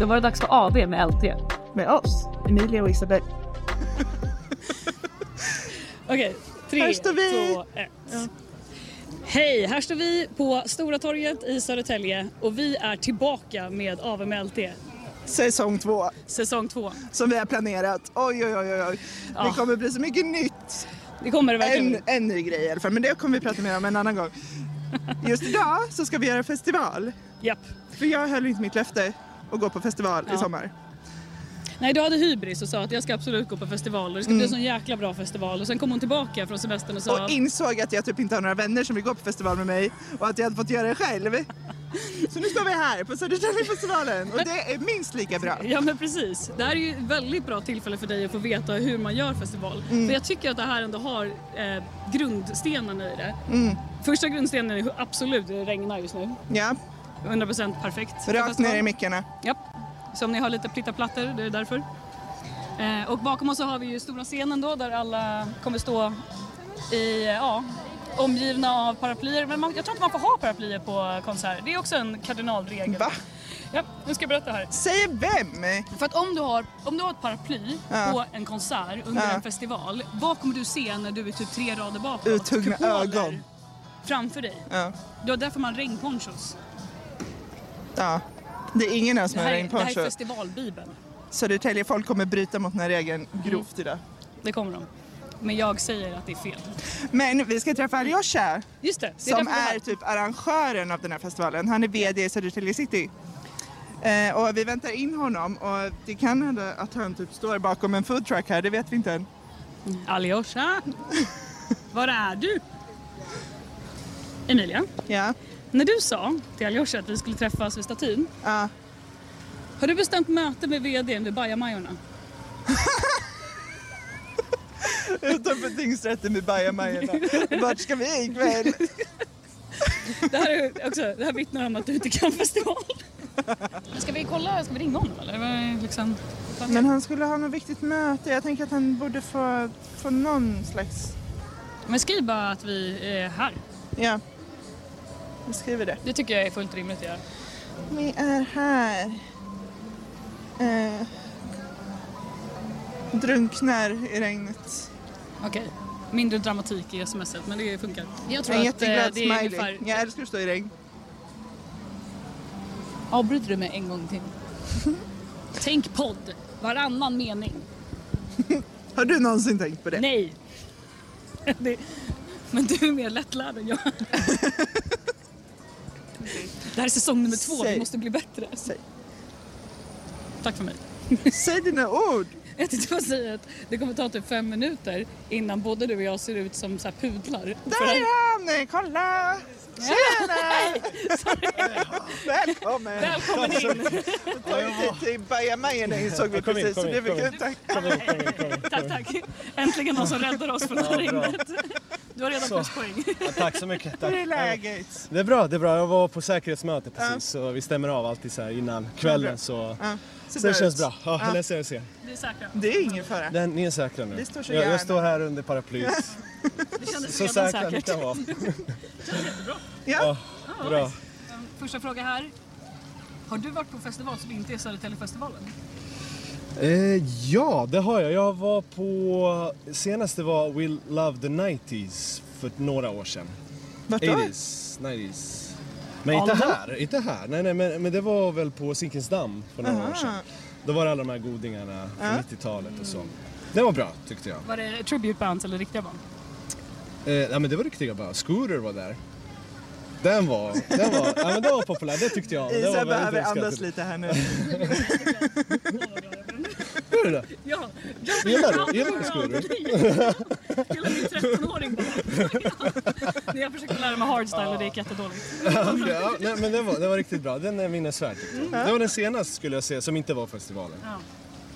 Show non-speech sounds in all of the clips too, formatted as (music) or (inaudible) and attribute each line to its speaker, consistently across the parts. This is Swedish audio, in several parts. Speaker 1: Då var det dags för AV med LT.
Speaker 2: Med oss, Emilia och Isabel.
Speaker 3: Okej, tre,
Speaker 2: Här står vi.
Speaker 3: två, ett. Hej, här står vi på Stora torget i Södertälje och vi är tillbaka med AVMLT
Speaker 2: Säsong två,
Speaker 3: säsong två.
Speaker 2: som vi har planerat. Oj, oj, oj, oj. Det
Speaker 3: Ja.
Speaker 2: kommer bli så mycket nytt.
Speaker 3: Det kommer det verkligen.
Speaker 2: En, en ny grej i alla fall, men det kommer vi prata mer om en annan gång. Just idag så ska vi göra festival.
Speaker 3: Japp.
Speaker 2: För jag höll inte mitt löfte att gå på festival i
Speaker 3: Ja.
Speaker 2: sommar.
Speaker 3: Nej, du hade hybris och sa att jag ska absolut gå på festival och det ska bli en sån jäkla bra festival. Och sen kom hon tillbaka från semestern och sa
Speaker 2: Mm. Och insåg att jag typ inte har några vänner som vill gå på festival med mig och att jag hade fått göra det själv. Så nu står vi här på Södertäljefestivalen och det är minst lika bra.
Speaker 3: Ja men precis. Det här är ju ett väldigt bra tillfälle för dig att få veta hur man gör festival.
Speaker 2: Mm.
Speaker 3: För jag tycker att det här ändå har eh, grundstenarna i det.
Speaker 2: Mm.
Speaker 3: Första grundstenen är hur absolut det regnar just nu.
Speaker 2: Ja,
Speaker 3: 100% perfekt. för
Speaker 2: rakt
Speaker 3: festival.
Speaker 2: ner i mickarna.
Speaker 3: Japp. Så om ni har lite plittarplattor, det är därför. Eh, och bakom oss så har vi ju stora scenen då där alla kommer stå i, eh, ja, omgivna av paraplyer. Men man, jag tror inte man får ha paraplyer på konserter. Det är också en kardinalregel.
Speaker 2: Va?
Speaker 3: Ja, nu ska jag berätta här.
Speaker 2: Säger vem?
Speaker 3: För att om du har, om du har ett paraply
Speaker 2: Ja.
Speaker 3: på en konsert under
Speaker 2: Ja.
Speaker 3: en festival, vad kommer du se när du är typ tre rader bakåt?
Speaker 2: Uthuggna
Speaker 3: Kupoler
Speaker 2: ögon.
Speaker 3: Framför dig.
Speaker 2: Ja.
Speaker 3: Det var därför man regnponchos.
Speaker 2: ja. Det är ingen här som
Speaker 3: Det
Speaker 2: har
Speaker 3: här, är- det här är
Speaker 2: regnponcho.
Speaker 3: festivalbibeln.
Speaker 2: Södertälje folk kommer bryta mot den här regeln grovt idag.
Speaker 3: Det kommer de. Men jag säger att det är fel.
Speaker 2: Men vi ska träffa Alyosha
Speaker 3: Just det, det är därför
Speaker 2: som
Speaker 3: vi
Speaker 2: är
Speaker 3: här.
Speaker 2: typ arrangören av den här festivalen. Han är VD i Södertälje City. Eh, och vi väntar in honom och det kan hända att han typ står bakom en foodtruck här, det vet vi inte än.
Speaker 3: Alyosha, var är du? Emilia,
Speaker 2: Ja,
Speaker 3: när du sa till Alyosha att vi skulle träffas vid statyn,
Speaker 2: ja. (laughs)
Speaker 3: har du bestämt möte med VDn vid Bajamajorna?
Speaker 2: utanför tingsrätten vid Bajamajorna. Vart ska vi ikväll?
Speaker 3: Det här, är också, det här vittnar om att du inte kan festival. Ska vi kolla, ska vi ringa honom eller? Vad är Liksom,
Speaker 2: Men han skulle ha något viktigt möte, jag tänker att han borde få, få någon slags...
Speaker 3: men skriv bara att vi är här.
Speaker 2: Ja, vi skriver det.
Speaker 3: Det tycker jag är fullt rimligt att göra.
Speaker 2: Vi är här. Eh, drunknar i regnet.
Speaker 3: Okej. Mindre dramatik i smset, men det funkar. Jag tror
Speaker 2: En
Speaker 3: att eh, det
Speaker 2: jätteglad
Speaker 3: är
Speaker 2: smiley.
Speaker 3: ungefär...
Speaker 2: Jag älskar att stå i regn.
Speaker 3: Avbryter du mig en gång (laughs) till? Tänk podd, varannan mening.
Speaker 2: Har du någonsin tänkt på det?
Speaker 3: Nej! (laughs) Det, men du är mer lättlärd
Speaker 2: (laughs)
Speaker 3: än jag. Det här är säsong nummer två,
Speaker 2: Säg.
Speaker 3: vi måste bli bättre.
Speaker 2: Säg.
Speaker 3: Tack för mig.
Speaker 2: Säg dina ord!
Speaker 3: Jag tänkte bara säga att det kommer ta typ fem minuter innan både du och jag ser ut som så här pudlar.
Speaker 2: Där är han! Nej, Kolla! Tjena! (laughs) Välkommen!
Speaker 3: Välkommen in!
Speaker 2: Jag tar ju hit till Bajamajorna insåg vi
Speaker 4: Kom in,
Speaker 2: precis.
Speaker 4: kom
Speaker 2: Så
Speaker 4: in,
Speaker 2: det
Speaker 4: kom
Speaker 2: fick
Speaker 4: in.
Speaker 2: ut tack.
Speaker 4: Kom in, kom in, kom in.
Speaker 3: Tack, tack. Äntligen någon som räddar oss från det här
Speaker 4: Ja, bra.
Speaker 3: regnet. Du har redan
Speaker 4: Så.
Speaker 3: pluspoäng.
Speaker 4: Ja, tack så mycket. Tack.
Speaker 2: Hur är läget?
Speaker 4: Det är bra, det är bra. Jag var på säkerhetsmöte precis
Speaker 2: Ja.
Speaker 4: så vi stämmer av alltid så här innan
Speaker 2: bra.
Speaker 4: kvällen så,
Speaker 2: Ja,
Speaker 4: så
Speaker 2: bra
Speaker 4: det
Speaker 2: ut.
Speaker 4: känns bra. Ja,
Speaker 2: Ja.
Speaker 4: Eller så jag ser.
Speaker 3: Vi är säkra.
Speaker 2: Det är ingen fara.
Speaker 4: Den, ni är säkra nu.
Speaker 2: Vi står så
Speaker 4: jag,
Speaker 2: gärna.
Speaker 4: jag står här under paraplyet.
Speaker 3: Det kändes
Speaker 4: så
Speaker 3: redan
Speaker 4: säkra ni
Speaker 3: säkert.
Speaker 4: kan vara.
Speaker 2: (laughs) Ja,
Speaker 3: Ja,
Speaker 4: Bra.
Speaker 3: nice. Um, Första fråga här. Har du varit på festival som inte är Södertäljefestivalen?
Speaker 4: Eh, ja, det har jag. Jag var på... Senaste var Will Love the 90s för några år sedan.
Speaker 2: vart då?
Speaker 4: 80s, 90s. Men inte här, inte här. Nej, nej, men, men det var väl på Zinkensdamm för några
Speaker 2: Aha.
Speaker 4: år sedan. Då var det alla de här godingarna från
Speaker 2: Ja.
Speaker 4: 90-talet och så. Det var bra tyckte jag.
Speaker 3: Var det tribute bands eller riktiga band?
Speaker 4: Eh, nej, men det var riktiga bra. Scooter var där. Den var, den var, ja, men den var populär, det tyckte jag. Det
Speaker 2: Isa
Speaker 4: var
Speaker 2: behöver andas
Speaker 4: uppskattat.
Speaker 2: lite här
Speaker 4: (laughs)
Speaker 2: nu.
Speaker 4: Hur är det?
Speaker 3: Ja,
Speaker 4: Gillar du? Gillar du Scooter?
Speaker 3: Hela min 13-åring bara.
Speaker 4: (laughs)
Speaker 3: När jag försökte lära mig hardstyle och det gick jättedåligt.
Speaker 4: Ja, nej, men den var, den var riktigt bra. Den är minnesvärd tyckte jag. Det var den senaste skulle jag säga som inte var festivalen.
Speaker 3: Ja.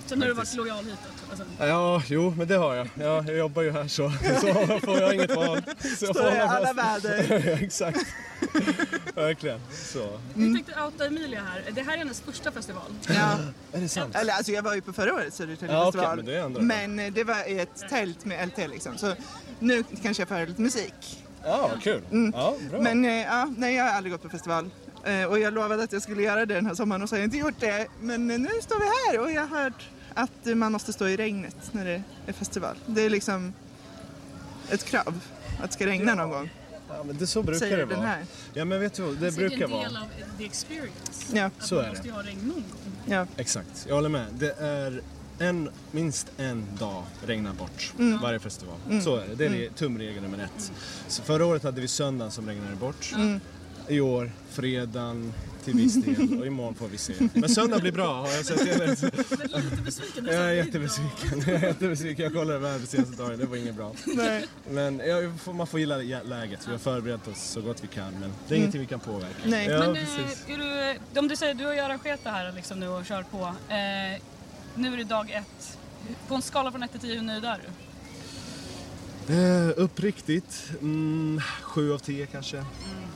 Speaker 3: Sen har du varit lojal hitåt. Alltså,
Speaker 4: Ja, jo, men det har jag. Ja, jag jobbar ju här så, så får jag inget val. Så jag
Speaker 2: Står
Speaker 4: får
Speaker 2: det i
Speaker 4: hålla
Speaker 2: alla
Speaker 4: fast.
Speaker 2: väder.
Speaker 4: (laughs) Exakt. Verkligen. Så.
Speaker 3: Jag tänkte outa Emilia här. Det här är hennes första festival.
Speaker 2: Ja.
Speaker 4: Är det sant?
Speaker 2: Eller alltså jag var ju på förra årets
Speaker 4: Ja,
Speaker 2: Södertäljefestival.
Speaker 4: okej, men det är ändå-
Speaker 2: men eh, det var i ett tält med LT liksom. Så nu kanske jag får höra lite musik.
Speaker 4: Ja, vad kul. Ja, bra.
Speaker 2: Men eh, ja, nej jag har aldrig gått på festival. Eh, Och jag lovade att jag skulle göra det den här sommaren och så har jag inte gjort det. Men eh, nu står vi här och jag har hört att man måste stå i regnet när det är festival. Det är liksom ett krav att det ska regna någon gång.
Speaker 4: Ja, men det så brukar
Speaker 2: Säger
Speaker 4: det
Speaker 2: den
Speaker 4: vara.
Speaker 2: här.
Speaker 4: Ja, men vet du vad? Det brukar
Speaker 3: Alltså, Det är en
Speaker 4: vara.
Speaker 3: del av the experience.
Speaker 2: Ja,
Speaker 3: Att
Speaker 4: Så
Speaker 3: man
Speaker 4: är
Speaker 3: måste
Speaker 4: det.
Speaker 3: ju ha regn någon gång.
Speaker 4: (laughs)
Speaker 2: ja.
Speaker 4: Exakt, jag håller med. Det är en, minst en dag regnar bort varje festival. Så är det. Det är tumregel nummer ett. Så förra året hade vi söndagen som regnade bort. I år fredagen till viss del och imorgon får vi se. Men söndag blir bra har jag sett. Jag är lite-
Speaker 3: Men lite besviken.
Speaker 4: jag är jättebesviken. Jag är jättebesviken. Jag kollade vädret senaste dagen, det var inget bra.
Speaker 2: Nej.
Speaker 4: Men jag, får- man får gilla lä- läget. Vi har förberett oss så gott vi kan men det är ingenting vi kan påverka.
Speaker 2: Nej.
Speaker 4: Ja,
Speaker 3: Men
Speaker 4: precis.
Speaker 3: eh, är du, om du säger du har ju arrangerat det här liksom nu och kör på. Eh, nu är det dag ett. På en skala från 1 till 10, hur nöjd är du?
Speaker 4: Eh, uppriktigt, mm, sju av tio kanske.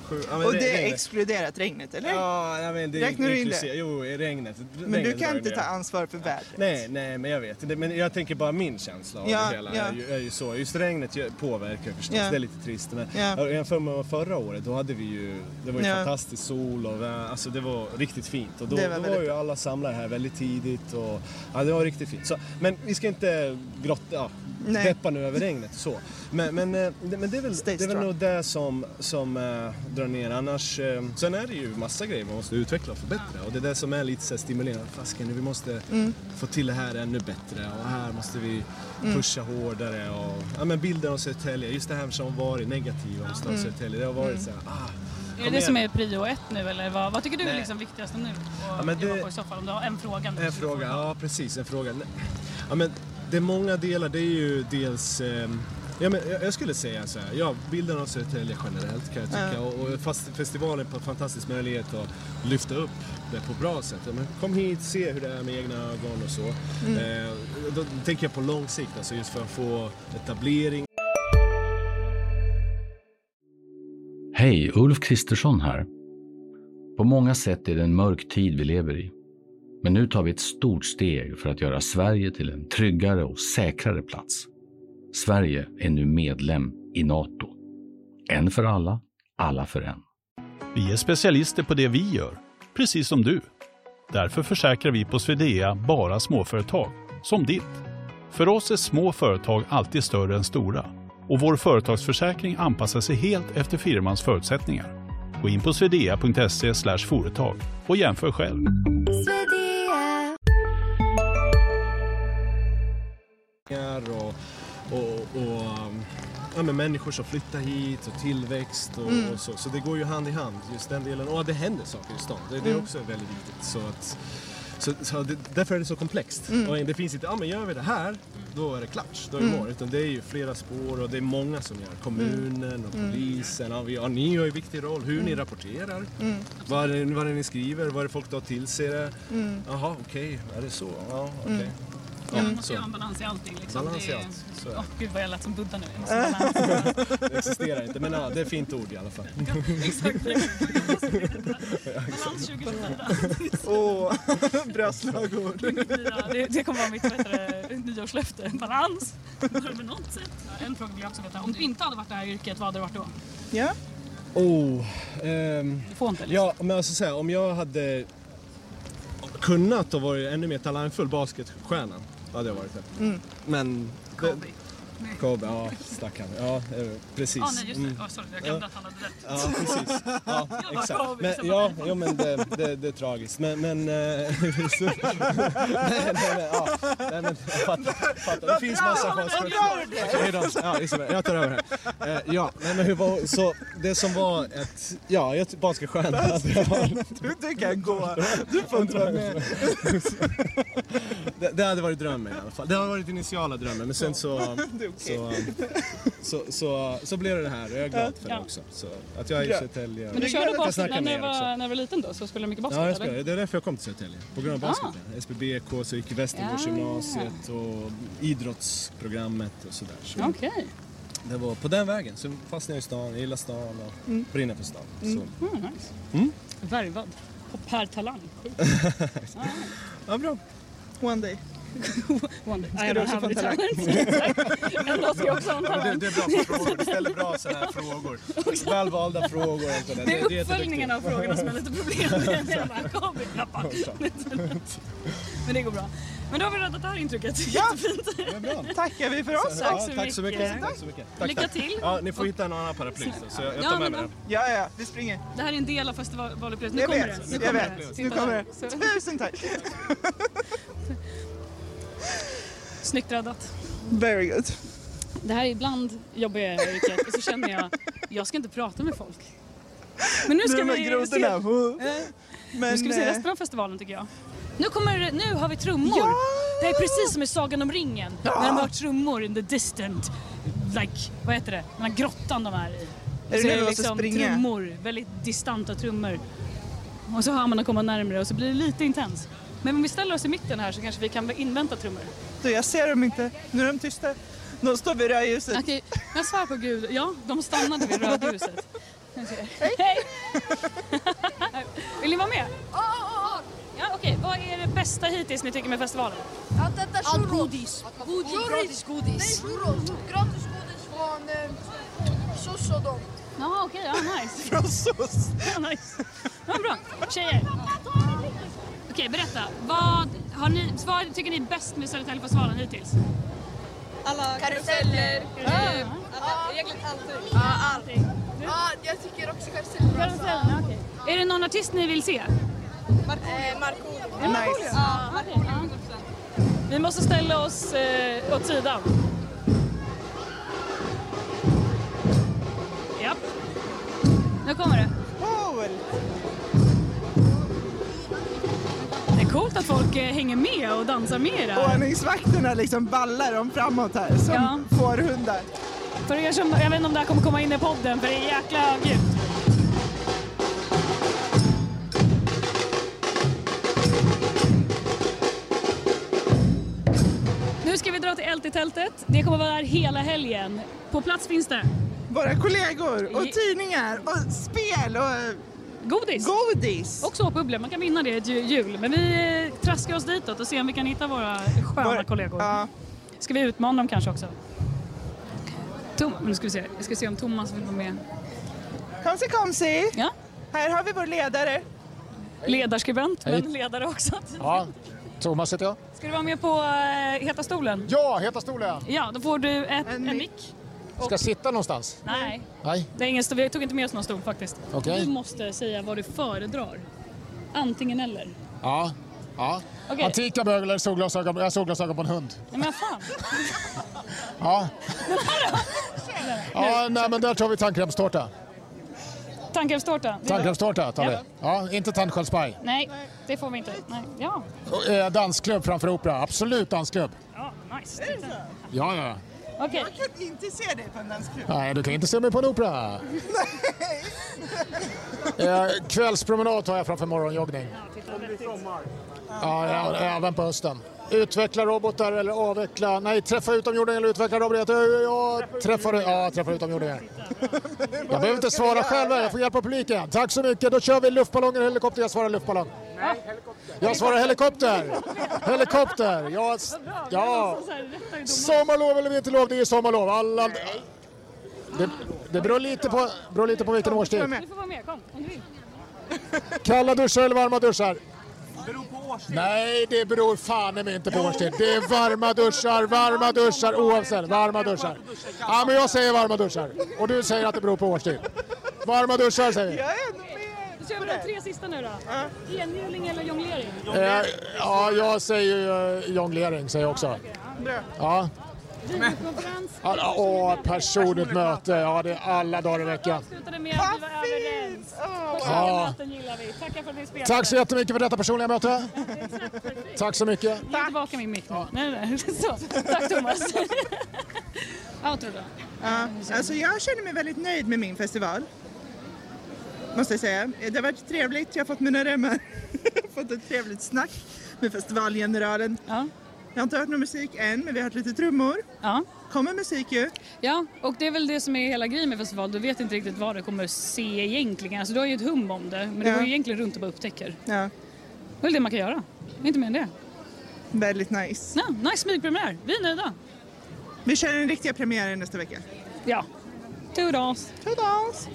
Speaker 4: Sju, ja, men
Speaker 2: Mm. Och det
Speaker 4: regnet.
Speaker 2: är exkluderat regnet, eller?
Speaker 4: Ja, nej, men det
Speaker 2: Räknar du in det?
Speaker 4: inklusive- Jo, i regnet.
Speaker 2: Men du
Speaker 4: regnet
Speaker 2: kan
Speaker 4: drar
Speaker 2: inte
Speaker 4: ner.
Speaker 2: ta ansvar för vädret.
Speaker 4: Nej, nej, men jag vet. Det- Men jag tänker bara min känsla av
Speaker 2: Ja,
Speaker 4: det hela.
Speaker 2: ja.
Speaker 4: Är, ju, är ju så. Just regnet ju- påverkar förstås,
Speaker 2: Ja.
Speaker 4: det är lite trist. Men
Speaker 2: Ja.
Speaker 4: jag jämför med förra året, då hade vi ju, det var ju
Speaker 2: Ja.
Speaker 4: fantastisk sol och vä- alltså det var riktigt fint. Och då,
Speaker 2: Det
Speaker 4: det
Speaker 2: var
Speaker 4: var, då var
Speaker 2: väldigt
Speaker 4: ju alla samlade här väldigt tidigt och ja, det var riktigt fint. Så, men vi ska inte grotta, ja,
Speaker 2: Nej.
Speaker 4: deppa nu över regnet så. Men, men, eh, det- men det är väl,
Speaker 2: Stay
Speaker 4: det är väl
Speaker 2: strong.
Speaker 4: nog det som, som eh, drar ner. Annars, eh, sen är det ju massa grejer man måste utveckla och förbättra. Och det är det som är lite så här stimulerande. Fasken, vi måste
Speaker 3: Mm.
Speaker 4: få till det här ännu bättre. Och här måste vi pusha hårdare. Och, ja, men bilden av Södertälje, just det här som varit negativa om staden Södertälje. Det har varit så här, ah,
Speaker 3: Är Mm. det
Speaker 4: kom
Speaker 3: det
Speaker 4: igen.
Speaker 3: som är prio ett nu eller vad, vad tycker du är
Speaker 4: Nej.
Speaker 3: liksom viktigast nu?
Speaker 4: Ja,
Speaker 3: Och
Speaker 4: men
Speaker 3: jobba
Speaker 4: det-
Speaker 3: på i så fall om du har en fråga. nu.
Speaker 4: En fråga, ja precis, en fråga. Nej. Ja, men det är många delar, det är ju dels ehm, Ja, men jag- jag skulle säga så här, ja, bilden av Södertälje generellt kan jag tycka och, och fast festivalen på en fantastisk möjlighet att lyfta upp det på bra sätt. Ja, men kom hit, se hur det är med egna ögon och så. Eh, då tänker jag på lång sikt, alltså just för att få etablering
Speaker 1: Hej, Ulf Kristersson här. På många sätt är det en mörk tid vi lever i. Men nu tar vi ett stort steg för att göra Sverige till en tryggare och säkrare plats. Sverige är nu medlem i Nato. En för alla, alla för en.
Speaker 5: Vi är specialister på det vi gör, precis som du. Därför försäkrar vi på Swedea bara småföretag, som ditt. För oss är små företag alltid större än stora och vår företagsförsäkring anpassar sig helt efter firmans förutsättningar. Gå in på swedea.se slash företag och jämför själv.
Speaker 4: och, och, och um, ja, men människor som flyttar hit och tillväxt och, och så. Så det går ju hand i hand, just den delen. Och att det händer saker i stan, det, det är också väldigt viktigt. Så att, så, så det, därför är det så komplext. Och det finns inte, ja men gör vi det här, då är det klart, då är det imorgon. Utan det är ju flera spår och det är många som gör. Kommunen och polisen. Ja, vi, ja, ni har ju viktig roll, hur ni rapporterar, vad, är det, vad är det ni skriver, vad är det folk tar till sig det. Jaha, okej, är det så? Ja, okej. Ja,
Speaker 3: Ja, man måste
Speaker 4: så.
Speaker 3: ju ha en balans i allting. Liksom.
Speaker 4: Balans i
Speaker 3: Det är-
Speaker 4: allt, så är det.
Speaker 3: Åh gud vad jag lät som Buddha nu. Jag måste
Speaker 4: (laughs)
Speaker 3: balans.
Speaker 4: Det existerar inte, men ja, det är ett fint ord i alla fall.
Speaker 3: Exakt.
Speaker 4: (laughs)
Speaker 3: Balans 2024.
Speaker 2: Åh, bra slagord.
Speaker 3: Fyra, det, det kommer vara mitt bättre nyårslöfte. Balans. Bara på något sätt. En fråga vill jag också veta. Om du inte hade varit det här yrket, vad hade du varit då?
Speaker 2: Ja,
Speaker 4: Oh, ehm,
Speaker 3: Du får inte. Liksom.
Speaker 4: ja, men alltså så här, om jag hade kunnat och varit ännu mer talangfull basketstjärna, då hade jag varit det.
Speaker 2: Mm.
Speaker 4: Men...
Speaker 3: Kobe.
Speaker 4: Kobe, ja stackarn. Ja, eh, precis.
Speaker 3: Ah, nej, just det.
Speaker 4: Mm.
Speaker 3: Ah, sorry, jag glömde att han hade rätt.
Speaker 4: Ja, precis. Ja,
Speaker 3: bara
Speaker 4: exakt.
Speaker 3: Kobe,
Speaker 4: Men,
Speaker 3: sen bara-
Speaker 4: ja, ja, men det, det, det är tragiskt. Men... men eh, (laughs) så, nej, nej, nej, ja, nej, men jag fattar. fattar. Det finns massa
Speaker 2: vad
Speaker 4: chanser.
Speaker 2: bra det är.
Speaker 4: Okej då, ja, Isabel, jag tar över här. Eh, ja, nej, men hur var, så det som var ett, ja, jag typ stjärna hade jag varit.
Speaker 2: Du, du kan gå. Du får inte vara med.
Speaker 4: det, det hade varit drömmen i alla fall. Det har varit initiala drömmen men sen så,
Speaker 2: (laughs) Det är okej.
Speaker 4: så, så, så, så blev det det här och jag är glad för det
Speaker 3: Ja.
Speaker 4: också. Så, att jag är i
Speaker 2: Bra.
Speaker 4: Södertälje. och-
Speaker 3: Men du
Speaker 4: Jag
Speaker 3: körde
Speaker 4: kan
Speaker 3: basket
Speaker 4: snacka
Speaker 3: när,
Speaker 4: med
Speaker 3: du
Speaker 4: er också.
Speaker 3: var, när du var liten då? Så spelade du mycket basket?
Speaker 4: Ja, jag
Speaker 3: eller?
Speaker 4: spelade. Det är därför jag kom till Södertälje. På grund av
Speaker 3: Ah.
Speaker 4: basketen. SBBK, så gick jag Västergårdsgymnasiet och idrottsprogrammet och sådär. Så
Speaker 3: Okej.
Speaker 4: Det var på den vägen. Så fastnade jag i stan, jag gillar stan och brinner för stan. Så.
Speaker 3: Mm, nice. Värvad. Och Per Talang. Sjukt.
Speaker 4: Ja, bra.
Speaker 2: One day.
Speaker 3: Wonder.
Speaker 2: Ska
Speaker 3: I
Speaker 2: du
Speaker 3: don't
Speaker 2: också
Speaker 3: have
Speaker 2: få
Speaker 3: any
Speaker 2: en talang?
Speaker 3: (laughs) talent. Exakt. En dag ska jag också ha en
Speaker 4: Ja, men
Speaker 3: talang.
Speaker 4: det, det är bra på frågor, du ställer bra sådana här frågor. Välvalda frågor och allt det
Speaker 3: Det
Speaker 4: där. Du- du
Speaker 3: är
Speaker 4: jätteduktig.
Speaker 3: uppföljningen av frågorna som är lite problem. Jag bara, kom igen, pappa. (laughs) Men det går bra. Men då har vi räddat det här intrycket. Jättefint.
Speaker 4: Det är bra.
Speaker 2: Tackar vi för oss.
Speaker 3: Tack så
Speaker 4: Ja, tack så mycket.
Speaker 3: mycket.
Speaker 4: Tack så mycket. Tack,
Speaker 3: Lycka
Speaker 4: tack.
Speaker 3: till.
Speaker 4: Ja, ni får hitta en annan paraply så- så jag jag tar
Speaker 3: Ja, men
Speaker 4: med mig den.
Speaker 2: Ja, ja, vi springer.
Speaker 3: Det här är en del av festivalupplevelsen. Nu
Speaker 2: Jag
Speaker 3: kommer
Speaker 2: vet,
Speaker 3: det.
Speaker 2: jag vet. Nu kommer det.
Speaker 3: Så- (laughs)
Speaker 2: Tusen tack.
Speaker 3: Snyggt räddat.
Speaker 2: Very good.
Speaker 3: Det här är ibland jobbiga ögonblick och så känner jag, jag ska inte prata med folk. Men nu
Speaker 2: Nu
Speaker 3: ska
Speaker 2: är
Speaker 3: vi se,
Speaker 2: grodorna. Men,
Speaker 3: nu ska vi se
Speaker 2: eh,
Speaker 3: resten av festivalen tycker jag. Nu, kommer, nu har vi trummor.
Speaker 2: Ja!
Speaker 3: Det här är precis som i Sagan om ringen. När de har trummor in the distant, like, vad heter det, den här grottan de är i.
Speaker 2: Är det
Speaker 3: så
Speaker 2: nu
Speaker 3: är
Speaker 2: vi
Speaker 3: det
Speaker 2: måste
Speaker 3: liksom
Speaker 2: springa?
Speaker 3: trummor, väldigt distanta trummor. Och så hör man dem komma närmare och så blir det lite intens. Men om vi ställer oss i mitten här så kanske vi kan invänta trummor.
Speaker 2: Du, jag ser dem inte. Nu är de tysta. De står vid rödljuset.
Speaker 3: Okej, jag svär på gud. Ja, de stannade vid rödhuset. Hej! Vill ni vara med? Ja, okej. Vad är det bästa hittills ni tycker med festivalen?
Speaker 6: Att äta churros. Allt godis. Gratis godis. Nej, churros. Gratis godis från eh, SOS och dem.
Speaker 3: Ja, okej. ja, nice.
Speaker 2: Från SOS.
Speaker 3: (laughs) Ja, nice. Ja, bra. Tjejer. Okej, berätta. Vad, har ni, vad tycker ni är bäst med Södertäljefestivalen hittills?
Speaker 7: Alla karuseller.
Speaker 3: Ah.
Speaker 7: eh, alla- Egentligen allt.
Speaker 6: Ah,
Speaker 3: Allting.
Speaker 6: Ja, jag tycker också karusellen är bra.
Speaker 3: Karusellen, ja, okej. Är det någon artist ni vill se?
Speaker 6: Eh, Markoolio.
Speaker 2: Nice.
Speaker 3: Ja, okej, ja. Vi måste ställa oss eh, åt sidan. Japp. Nu kommer det.
Speaker 2: Cool.
Speaker 3: Det är coolt att folk eh, hänger med och dansar med i det här.
Speaker 2: Ordningsvakterna liksom ballar dem framåt här som
Speaker 3: Ja.
Speaker 2: fårhundar.
Speaker 3: För er som, jag vet inte om det här kommer komma in i podden, för det är jäkla grymt. Nu ska vi dra till Ält i tältet. Det kommer vara där hela helgen. På plats finns det
Speaker 2: Våra kollegor och
Speaker 3: Ge-
Speaker 2: tidningar och spel och eh,
Speaker 3: godis.
Speaker 2: godis.
Speaker 3: Och såpbubblor, man kan vinna det ett ju- jul. Men vi eh, traskar oss ditåt och ser om vi kan hitta våra sköna
Speaker 2: Våra-
Speaker 3: kollegor.
Speaker 2: Ja.
Speaker 3: Ska vi utmana dem kanske också? Tom, nu ska vi se. Jag ska se om Thomas vill vara med.
Speaker 2: Komsi, komsi.
Speaker 3: Ja.
Speaker 2: Här har vi vår ledare.
Speaker 3: Ledarskribent,
Speaker 8: Hej.
Speaker 3: men ledare också.
Speaker 8: Ja, Thomas heter jag.
Speaker 3: Ska du vara med på eh, Heta stolen?
Speaker 8: Ja, Heta stolen!
Speaker 3: Ja, då får du ett,
Speaker 2: En
Speaker 3: en,
Speaker 2: mick.
Speaker 3: mick.
Speaker 8: Ska jag sitta någonstans?
Speaker 3: Nej,
Speaker 8: Nej,
Speaker 3: det är ingen, sto- vi tog inte med oss någon stol faktiskt.
Speaker 8: Okej.
Speaker 3: Du måste säga vad du föredrar. Antingen eller.
Speaker 8: ja. ja.
Speaker 3: Okej.
Speaker 8: Antika mögel eller solglasögon, äh, solglasögon på en hund?
Speaker 3: Nej, men fan.
Speaker 8: Ja. ja, nej, men där tar vi tandkrämstårta.
Speaker 3: Tandkrämstårta? Det-
Speaker 8: Tandkrämstårta tar vi.
Speaker 3: Ja.
Speaker 8: Ja, inte tandskölspaj.
Speaker 3: Nej, det får vi inte. Nej. Ja.
Speaker 8: Och, eh, Dansklubb framför opera. Absolut dansklubb.
Speaker 3: ja, nice. Titta.
Speaker 8: Ja, ja.
Speaker 3: Okej,
Speaker 2: Jag kan inte se dig på en dansklubb.
Speaker 8: Nej, du kan inte se mig på en (laughs) opera. eh, kvällspromenad tar jag framför morgonjoggning. Ja, ja, även på hösten. Utveckla robotar eller avveckla? Nej, träffa utomjordingar eller utveckla robotar? Jag, jag träffar ja, träffa utomjordingar. Jag behöver inte svara själv, här, jag får hjälp av publiken. Tack så mycket, då kör vi luftballonger eller helikopter. Jag svarar luftballong. Jag svarar helikopter. Helikopter. Jag, ja.
Speaker 3: så här, rätta ju domaren.
Speaker 8: Sommarlov eller vinterlov? Det är sommarlov. Alla... Det, det beror, lite på, beror lite på vilken årstid.
Speaker 3: Du får vara med, kom om du vill.
Speaker 8: Kalla duschar eller varma duschar? Nej, det beror fan i mig inte på årstid. Det är varma duschar, varma duschar oavsett. Varma duschar. Ja, men jag säger varma duschar. Och du säger att det beror på årstid. Varma duschar säger vi.
Speaker 2: Jag är ändå med.
Speaker 3: Då kör vi de tre sista nu då. Enhjuling eller jonglering?
Speaker 8: Eh, ja, jag säger ju eh, jonglering säger jag också. Ja.
Speaker 3: Videokonferens.
Speaker 8: Ja, ja, Och personligt möte, ja det är alla dagar i veckan.
Speaker 3: Avslutade med att vi var
Speaker 2: Vad
Speaker 3: överens.
Speaker 2: fint! Åh,
Speaker 3: Första
Speaker 8: Ja.
Speaker 3: möten gillar vi. Tackar för att ni spelade.
Speaker 8: Tack så jättemycket för detta personliga möte. Tack så mycket.
Speaker 3: Ge tillbaka min mick nu. Nej, nej, (laughs) nej. Så. Tack Thomas. Outro då.
Speaker 2: (laughs) Ja, alltså jag känner mig väldigt nöjd med min festival. Måste jag säga. Det har varit trevligt, jag har fått mina (laughs) remmar. fått ett trevligt snack med festivalgeneralen.
Speaker 3: Ja.
Speaker 2: Jag har inte hört någon musik än, men vi har hört lite trummor.
Speaker 3: Ja.
Speaker 2: Kommer musik ju.
Speaker 3: ja, och det är väl det som är hela grejen med festival. Du vet inte riktigt vad du kommer se egentligen. Alltså, du har ju ett hum om det, men du
Speaker 2: Ja.
Speaker 3: går ju egentligen runt och bara upptäcker.
Speaker 2: Ja.
Speaker 3: Det är väl det man kan göra. Inte mer än det.
Speaker 2: Väldigt nice.
Speaker 3: Ja, nice smygpremiär. Vi är nöjda.
Speaker 2: Vi kör den riktiga premiären nästa vecka.
Speaker 3: Ja. Two dolls.
Speaker 2: Toodles!